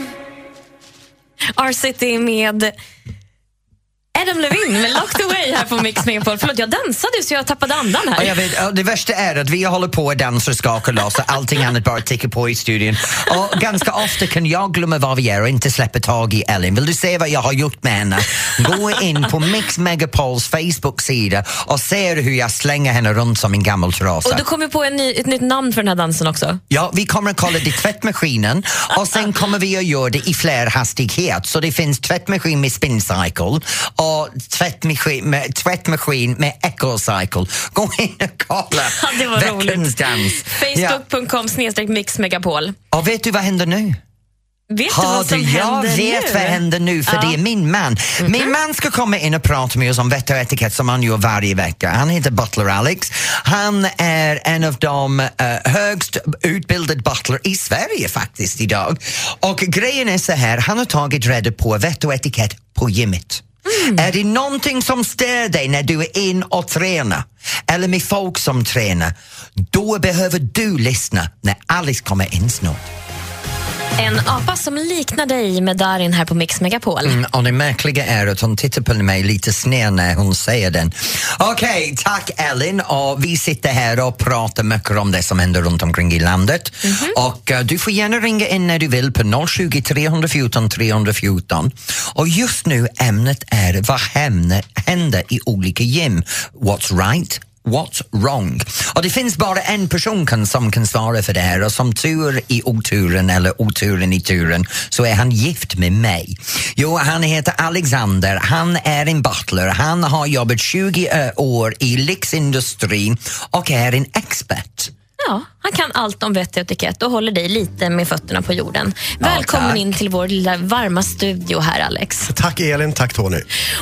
Speaker 4: same?
Speaker 3: R-City med Adam Levine med Locked Away här på Mix Megapol. Förlåt, jag dansade ju så jag tappade andan
Speaker 2: Ja,
Speaker 3: här.
Speaker 2: jag vet, Ja, det värsta är att vi håller på och dansar och skakar loss och allting annat bara tickar på i studion. Och ganska ofta kan jag glömma vad vi gör och inte släppa tag i Ellen. Vill du se vad jag har gjort med henne? Gå in på Mix Megapols Facebook-sida och se hur jag slänger henne runt som en gammal trasa.
Speaker 3: Och du kom ju på en ny, ett nytt namn för den här dansen också.
Speaker 2: Ja, vi kommer att kolla det i tvättmaskinen och sen kommer vi att göra det i fler hastighet. Så det finns tvättmaskin med spin cycle och tvättmaskin med, tvättmaskin med echo cycle. Gå in och kolla
Speaker 3: Ja, det var
Speaker 2: veckans
Speaker 3: roligt.
Speaker 2: dans. Ja.
Speaker 3: Facebook.com snedstreck mixmegapol.
Speaker 2: Och vet du vad händer nu?
Speaker 3: Vet du
Speaker 2: Har
Speaker 3: vad som
Speaker 2: du, jag
Speaker 3: händer
Speaker 2: vet
Speaker 3: nu? Mhm.
Speaker 2: vad händer nu för det är min man. Min man ska komma in och prata med oss om vett och etikett som han gör varje vecka. Han heter Butler Alex. Han är en av de eh, högst utbildade butler i Sverige faktiskt idag. Och grejen är så här, han har tagit reda på vett och etikett på gymmet.
Speaker 3: Mm.
Speaker 2: Är det någonting som stör dig när du är in och tränar eller med folk som tränar, då behöver du lyssna när Alice kommer in snart.
Speaker 3: En apa som liknar dig med Darin här på Mix Megapol.
Speaker 2: Mm, och det märkliga är att hon tittar på mig lite sned när hon säger den. Okej, tack Ellen. Och vi sitter här och pratar mycket om det som händer runt omkring i landet. Och eh, du får gärna ringa in när du vill på 020 314 314. Och just nu ämnet är vad händer, händer i olika gym? What's right? What's wrong? Och det finns bara en person kan, som kan svara för det här och som tur i oturen eller oturen i turen så är han gift med mig. Jo, han heter Alexander, han är en butler, han har jobbat 20 år i lyxindustrin och är en expert.
Speaker 3: Ja, han kan allt om vett och etikett och håller dig lite med fötterna på jorden. Välkommen
Speaker 2: tack.
Speaker 3: in till vår lilla varma studio här, Alex.
Speaker 10: Tack Elin, tack Tony.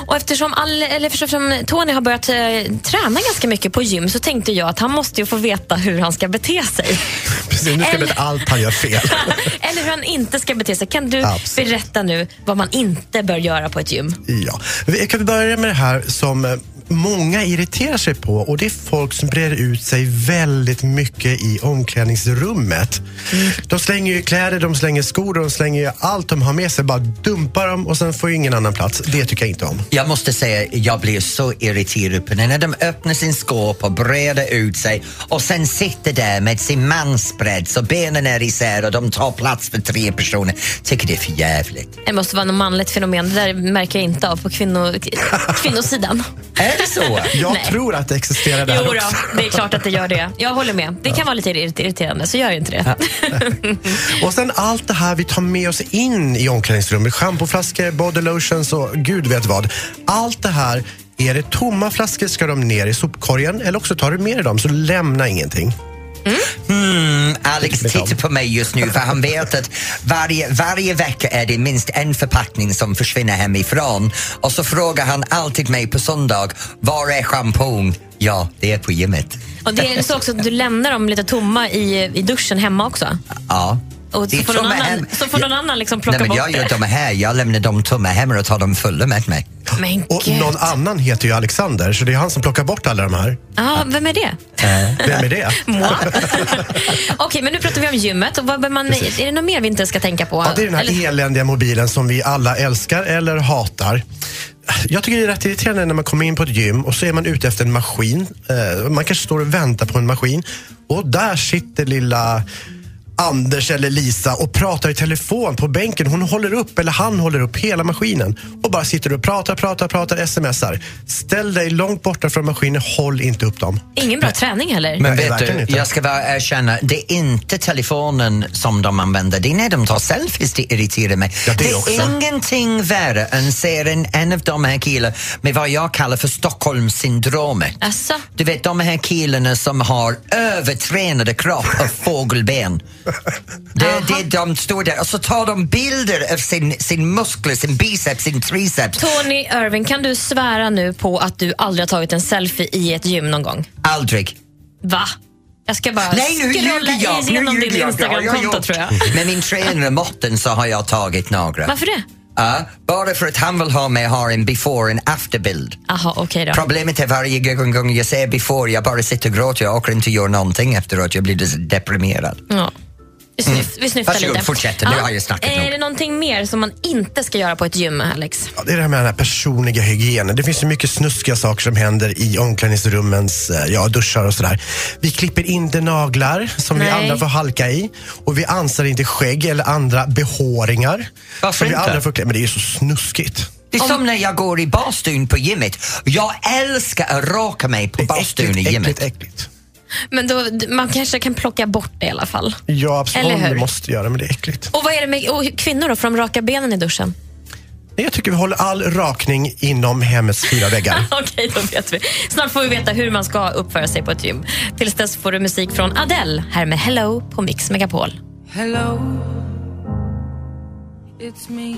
Speaker 3: Och eftersom, all, eller eftersom Tony har börjat eh, träna ganska mycket på gym så tänkte jag att han måste ju få veta hur han ska bete sig.
Speaker 10: Precis, nu ska jag berätta allt han gör fel.
Speaker 3: eller hur han inte ska bete sig. Kan du
Speaker 10: Absolut.
Speaker 3: berätta nu vad man inte bör göra på ett gym?
Speaker 10: Ja. Jag kan börja med det här som eh, många irriterar sig på och det är folk som breder ut sig väldigt mycket i omklädningsrummet. De slänger ju kläder, de slänger skor, de slänger ju allt de har med sig. Bara dumpar dem och sen får ju ingen annan plats. Det tycker jag inte om.
Speaker 2: Jag måste säga, jag blir så irriterad på det när de öppnar sin skåp och breder ut sig och sen sitter där med sin mansbredd så benen är isär och de tar plats för tre personer. Tycker det är för jävligt.
Speaker 3: Det måste vara något manligt fenomen. Det där märker jag inte av på kvinno, kvinnosidan.
Speaker 2: Är det så?
Speaker 10: Jag
Speaker 3: Nej.
Speaker 10: tror att det existerar där
Speaker 3: Jo då,
Speaker 10: också.
Speaker 3: det är klart att det gör det. Jag håller med. Det kan vara lite irrit- irriterande, så gör inte det.
Speaker 10: Och sen allt det här vi tar med oss in i omklädningsrummet. Schampoflaskor, body lotions och gud vet vad. Allt det här, är det tomma flaskor ska de ner i sopkorgen eller också tar du med dig dem så lämna ingenting.
Speaker 2: Alex
Speaker 10: Tycker inte
Speaker 2: tittar
Speaker 10: om.
Speaker 2: Mm, på mig just nu för han vet att varje, varje vecka är det minst en förpackning som försvinner hemifrån och så frågar han alltid mig på söndag, var är schampon? Ja, det är på gymmet.
Speaker 3: Och det är så också att du lämnar dem lite tomma i, i duschen hemma också.
Speaker 2: Ja.
Speaker 3: Och
Speaker 2: Det
Speaker 3: så
Speaker 2: är
Speaker 3: får någon
Speaker 2: tomma hem-
Speaker 3: annan, så får någon
Speaker 2: Ja.
Speaker 3: annan liksom plocka
Speaker 2: Nej, men
Speaker 3: bort
Speaker 2: jag gör
Speaker 3: det.
Speaker 2: dem här. Jag lämnar dem tomma hemma och tar dem fulla med mig.
Speaker 3: Men
Speaker 10: Och
Speaker 3: gud.
Speaker 10: någon annan heter ju Alexander så det är han som plockar bort alla de här.
Speaker 3: Ja, vem är det?
Speaker 10: Vem är det?
Speaker 3: Moi. Okej, men nu pratar vi om gymmet. Och vad bör man, är det något mer vi inte ska tänka på?
Speaker 10: Ja, det är den här
Speaker 3: Eller-
Speaker 10: eländiga mobilen som vi alla älskar eller hatar. Jag tycker det är rätt irriterande när man kommer in på ett gym och så är man ute efter en maskin. Eh, Man kanske står och väntar på en maskin och där sitter lilla Anders eller Lisa och pratar i telefon på bänken. Hon håller upp, eller han håller upp, hela maskinen och bara sitter och pratar, pratar, pratar, smsar. Ställ dig långt borta från maskinen, håll inte upp dem.
Speaker 3: Ingen bra träning heller.
Speaker 2: E- Men
Speaker 10: Nej,
Speaker 2: vet
Speaker 10: verkligen
Speaker 2: du,
Speaker 10: inte.
Speaker 2: jag ska bara erkänna, det är inte telefonen som de använder. Det är när de tar selfies det irriterar mig.
Speaker 10: Ja, det
Speaker 2: det
Speaker 10: också.
Speaker 2: är ingenting värre än ser en, en av de här killarna med vad jag kallar för Stockholmssyndromet.
Speaker 3: Asså?
Speaker 2: Du vet de här killarna som har övertränade kropp och fågelben. Det, det, de står där och så tar de bilder av sin, sin muskler, sin biceps, sin triceps.
Speaker 3: Tony Irving, kan du svära nu på att du aldrig har tagit en selfie i ett gym någon gång?
Speaker 2: Aldrig.
Speaker 3: Va? Jag ska bara
Speaker 2: Nej, nu
Speaker 3: scrolla
Speaker 2: ljuger jag. Nu
Speaker 3: igenom din
Speaker 2: ljuger jag. Ja,
Speaker 3: Instagramkonto
Speaker 2: jag-
Speaker 3: tror jag.
Speaker 2: Med min tränare Mårten så har jag tagit några.
Speaker 3: Varför det?
Speaker 2: Ja, bara för att han vill ha mig ha en before och en afterbild.
Speaker 3: Aha, okej då.
Speaker 2: Problemet är varje gång gång jag säger before, jag bara sitter och gråter, jag åker inte och gör någonting efteråt, jag blir så deprimerad.
Speaker 3: Ja. Vi, snyf- vi snyftar
Speaker 2: Mm. Varsågod,
Speaker 3: lite.
Speaker 2: fortsätt. Nu har jag snackat
Speaker 3: Är
Speaker 2: nog.
Speaker 3: det någonting mer som man inte ska göra på ett gym, Alex?
Speaker 10: Ja, det är det här med den här personliga hygienen. Det finns så mycket snuskiga saker som händer i omklädningsrummens eh, ja, duschar och sådär. Vi klipper inte naglar som vi
Speaker 3: Nej.
Speaker 10: andra får halka i och vi ansar inte skägg eller andra behåringar.
Speaker 2: Varför
Speaker 10: som vi
Speaker 2: inte?
Speaker 10: Andra får klä. Men det är ju så snuskigt.
Speaker 2: Det är som när jag går i bastun på gymmet. Jag älskar att raka mig på
Speaker 10: Det är
Speaker 2: bastun i
Speaker 10: äckligt, äckligt,
Speaker 2: gymmet.
Speaker 10: äckligt.
Speaker 3: Men då, d- man kanske kan plocka bort det i alla fall.
Speaker 10: Ja, absolut.
Speaker 3: Eller hur?
Speaker 10: Det måste göra, men det är äckligt.
Speaker 3: Och vad är det med och kvinnor då? Får de raka benen i duschen?
Speaker 10: Nej, Jag tycker vi håller all rakning inom hemmets fyra väggar.
Speaker 3: Okej, då vet vi. Snart får vi veta hur man ska uppföra sig på ett gym. Tills dess får du musik från Adele här med Hello på Mix Megapol.
Speaker 1: Hello,
Speaker 7: it's me.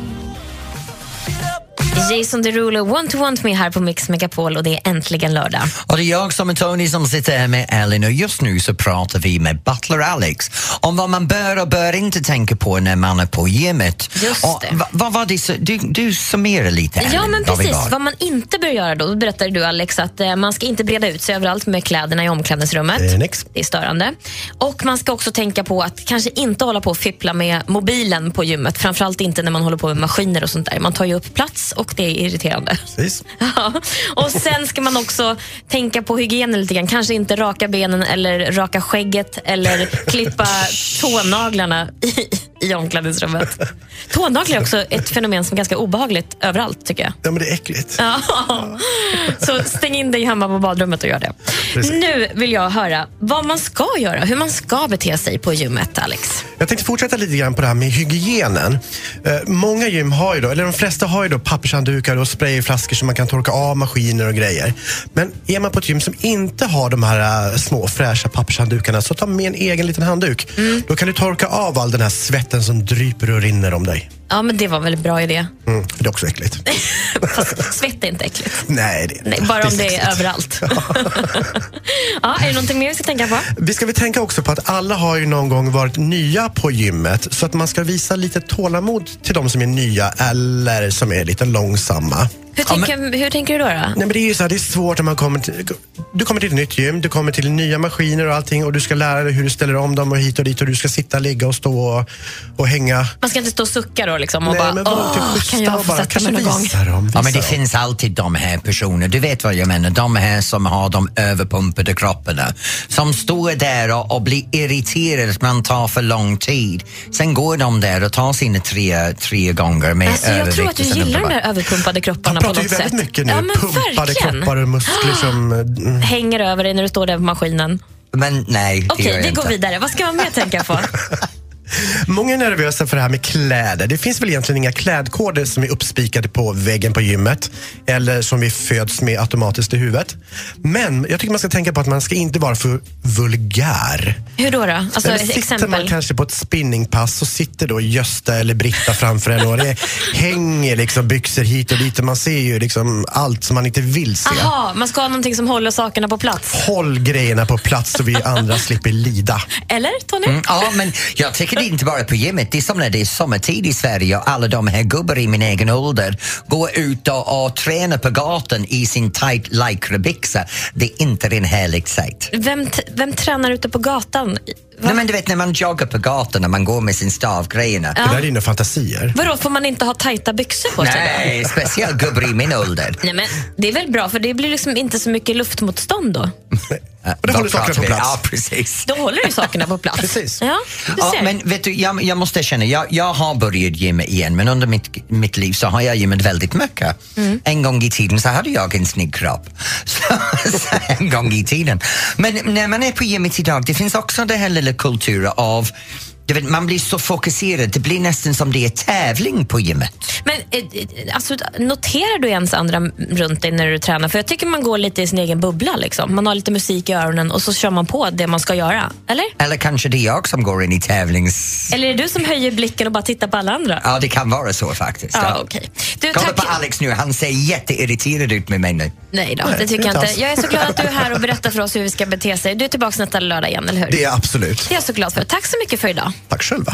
Speaker 3: Jason Derulo, Want to want me här på Mix Megapol och det är äntligen lördag.
Speaker 2: Och det är jag som är Tony som sitter här med Ellen och just nu så pratar vi med Butler Alex om vad man bör och bör inte tänka på när man är på gymmet.
Speaker 3: Just
Speaker 2: och,
Speaker 3: det.
Speaker 2: va- Vad var det, så- du, du summerar lite Ellen,
Speaker 3: Ja, men
Speaker 2: vad vi
Speaker 3: precis.
Speaker 2: var.
Speaker 3: Vad man inte bör göra då, då berättade du Alex att eh, man ska inte breda ut sig överallt med kläderna i omklädningsrummet.
Speaker 10: Eh, nix.
Speaker 3: Det är störande. Och man ska också tänka på att kanske inte hålla på och fippla med mobilen på gymmet. Framförallt inte när man håller på med maskiner och sånt där. Man tar ju upp plats och det är irriterande.
Speaker 10: Precis.
Speaker 3: Ja. Och sen ska man också tänka på hygienen lite grann. Kanske inte raka benen eller raka skägget eller klippa tånaglarna i, i omklädningsrummet. Tånaglar är också ett fenomen som är ganska obehagligt överallt tycker jag.
Speaker 10: Ja, men det är äckligt.
Speaker 3: Ja. Så stäng in dig hemma på badrummet och gör det.
Speaker 10: Precis.
Speaker 3: Nu vill jag höra vad man ska göra, hur man ska bete sig på gymmet, Alex.
Speaker 10: Jag tänkte fortsätta lite grann på det här med hygienen. Eh, många gym har ju då, eller de flesta har ju då pappershanddukar och sprayflaskor som man kan torka av maskiner och grejer. Men är man på ett gym som inte har de här eh, små fräscha pappershanddukarna så ta med en egen liten handduk.
Speaker 3: Mm.
Speaker 10: Då kan du torka av all den här svetten som dryper och rinner om dig.
Speaker 3: Ja, men det var väl en bra idé.
Speaker 10: Mm, för det är också äckligt.
Speaker 3: Fast svett är inte äckligt.
Speaker 10: Nej, det är det
Speaker 3: Nej,
Speaker 10: inte.
Speaker 3: bara om det är
Speaker 10: sexigt.
Speaker 3: överallt. ja, är det någonting mer vi ska tänka på?
Speaker 10: Vi ska väl tänka också på att alla har ju någon gång varit nya på gymmet så att man ska visa lite tålamod till de som är nya eller som är lite långsamma.
Speaker 3: Hur tänker, hur tänker du då? då?
Speaker 10: Nej, men det är ju så här, det är svårt när man kommer till, du kommer till ett nytt gym, du kommer till nya maskiner och allting och du ska lära dig hur du ställer om dem och hit och dit och du ska sitta, ligga och stå och, och hänga.
Speaker 3: Man ska inte stå och sucka då liksom och
Speaker 10: Nej,
Speaker 3: bara,
Speaker 10: men var lite
Speaker 3: Åh,
Speaker 10: schyssta
Speaker 3: kan jag
Speaker 10: och
Speaker 3: få
Speaker 10: bara,
Speaker 3: sätta mig
Speaker 10: kanske
Speaker 3: någon gång?
Speaker 10: visa dem. Visa
Speaker 2: Ja, men det
Speaker 10: dem.
Speaker 2: finns alltid de här personerna, du vet vad jag menar, de här som har de överpumpade kropparna som står där och, och blir irriterade att man tar för lång tid. Sen går de där och tar sina tre, tre gånger med
Speaker 3: Alltså, jag tror att du
Speaker 2: övervikt och sen
Speaker 3: gillar de
Speaker 2: bara-
Speaker 3: där överpumpade kropparna på
Speaker 10: Man pratar ju
Speaker 3: något sätt.
Speaker 10: väldigt mycket nu.
Speaker 3: Ja, men
Speaker 10: Pumpade
Speaker 3: verkligen. Ah!
Speaker 10: kroppar och muskler som... mm,
Speaker 3: Hänger över dig när du står där på maskinen.
Speaker 2: Men nej, det
Speaker 3: Okej,
Speaker 2: gör jag
Speaker 3: vi
Speaker 2: inte.
Speaker 3: går vidare. Vad ska man mer tänka på?
Speaker 10: Många är nervösa för det här med kläder. Det finns väl egentligen inga klädkoder som är uppspikade på väggen på gymmet eller som vi föds med automatiskt i huvudet. Men jag tycker man ska tänka på att man ska inte vara för vulgär.
Speaker 3: Hur då? då? Alltså,
Speaker 10: Eller
Speaker 3: ett
Speaker 10: sitter man
Speaker 3: exempel.
Speaker 10: kanske på ett spinningpass så sitter då Gösta eller Britta framför en och det hänger liksom byxor hit och dit och man ser ju liksom allt som man inte vill se.
Speaker 3: Aha, man ska ha någonting som håller sakerna på plats.
Speaker 10: Håll grejerna på plats så vi andra slipper lida.
Speaker 3: Eller Tony?
Speaker 2: Mm, Ja, men jag tycker det är inte bara på gymmet. Det är som när det är sommartid i Sverige och alla de här gubbar i min egen ålder går ut och, och tränar på gatan i sin tight lycrabyxa. Det är inte en härlig sight.
Speaker 3: Vem, t- vem tränar ute på gatan? Va?
Speaker 2: Nej, men du vet när man joggar på gatan och man går med sin stavgrejerna.
Speaker 10: Det där är dina fantasier.
Speaker 3: Vadå, får man inte ha tajta byxor på sig? då?
Speaker 2: Nej, speciellt gubbar i min ålder.
Speaker 3: Nej, men det är väl bra, för det blir liksom inte så mycket luftmotstånd då.
Speaker 2: Ja,
Speaker 10: då håller sakerna på
Speaker 2: vi-
Speaker 10: plats.
Speaker 2: Ja, precis.
Speaker 3: Då håller du sakerna på plats.
Speaker 10: Precis.
Speaker 3: Ja, du
Speaker 2: Ja,
Speaker 3: ser.
Speaker 2: men vet du, jag, jag måste erkänna, jag, jag har börjat gymma igen men under mitt, mitt liv så har jag gymmat väldigt mycket.
Speaker 3: Mm.
Speaker 2: En gång i tiden så hade jag en snygg kropp. Så, så en gång i tiden. Men när man är på gymmet idag, det finns också den här lilla kulturen av du vet, man blir så fokuserad, det blir nästan som det är tävling på gymmet.
Speaker 3: Men eh, eh, alltså, noterar du ens andra m- runt dig när du tränar? För jag tycker man går lite i sin egen bubbla. Liksom. Man har lite musik i öronen och så kör man på det man ska göra. Eller?
Speaker 2: Eller kanske det är jag som går in i tävlings...
Speaker 3: Eller är det du som höjer blicken och bara tittar på alla andra?
Speaker 2: Ja, det kan vara så faktiskt.
Speaker 3: Ja,
Speaker 2: Ja.
Speaker 3: okej. Du,
Speaker 2: Kolla
Speaker 3: tack.
Speaker 2: på Alex nu, han ser jätteirriterad ut med mig nu.
Speaker 3: Nej då, det tycker
Speaker 10: inte
Speaker 3: jag
Speaker 10: alls.
Speaker 3: inte. Jag är så glad att du är här och berättar för oss hur vi ska bete sig. Du är tillbaka nästa lördag igen, eller hur?
Speaker 10: Det är absolut.
Speaker 3: Det är jag så glad för. Tack så mycket för idag.
Speaker 10: Tack själva.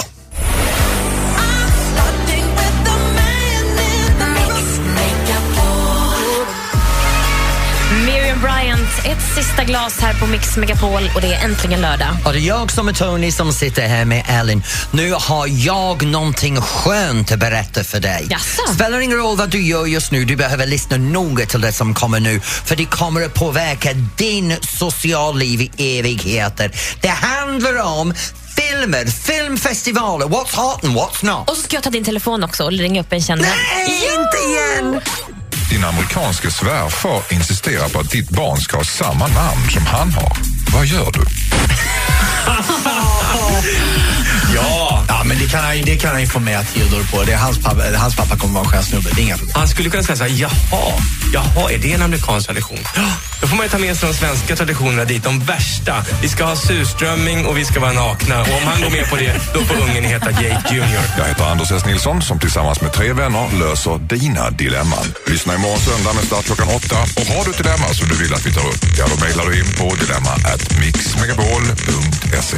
Speaker 3: Miriam Bryant, ett sista glas här på Mix Megapol och det är äntligen lördag.
Speaker 2: Och det är jag som är Tony som sitter här med Ellen. Nu har jag någonting skönt att berätta för dig.
Speaker 3: Jaså?
Speaker 2: Spelar ingen roll vad du gör just nu, du behöver lyssna noga till det som kommer nu för det kommer att påverka din socialliv i evigheter. Det handlar om filmer, filmfestivaler, what's hot and what's not.
Speaker 3: Och så ska jag ta din telefon också och ringa upp en kändis.
Speaker 2: Nej, inte igen!
Speaker 11: Din amerikanske svärfar insisterar på att ditt barn ska ha samma namn som han har. Vad gör du?
Speaker 12: Ja! ja men det kan, han, det kan han ju få med Theodor på. Det är hans, pappa, eller hans pappa kommer vara en skön snubbe. Det är inga problem.
Speaker 13: Han skulle kunna säga så här, jaha, jaha, är det en amerikansk tradition? Ja, Då får man ju ta med sig de svenska traditionerna dit, de värsta. Vi ska ha surströmming och vi ska vara nakna. Och om han går med på det, då får ungen heta Jake Junior.
Speaker 6: Jag heter Anders S. Nilsson som tillsammans med tre vänner löser dina dilemman. Lyssna imorgon söndag med start klockan åtta. Och har du ett dilemma som du vill att vi tar upp, ja då mejlar du in på dilemma at mixmegapol.se.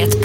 Speaker 3: Ett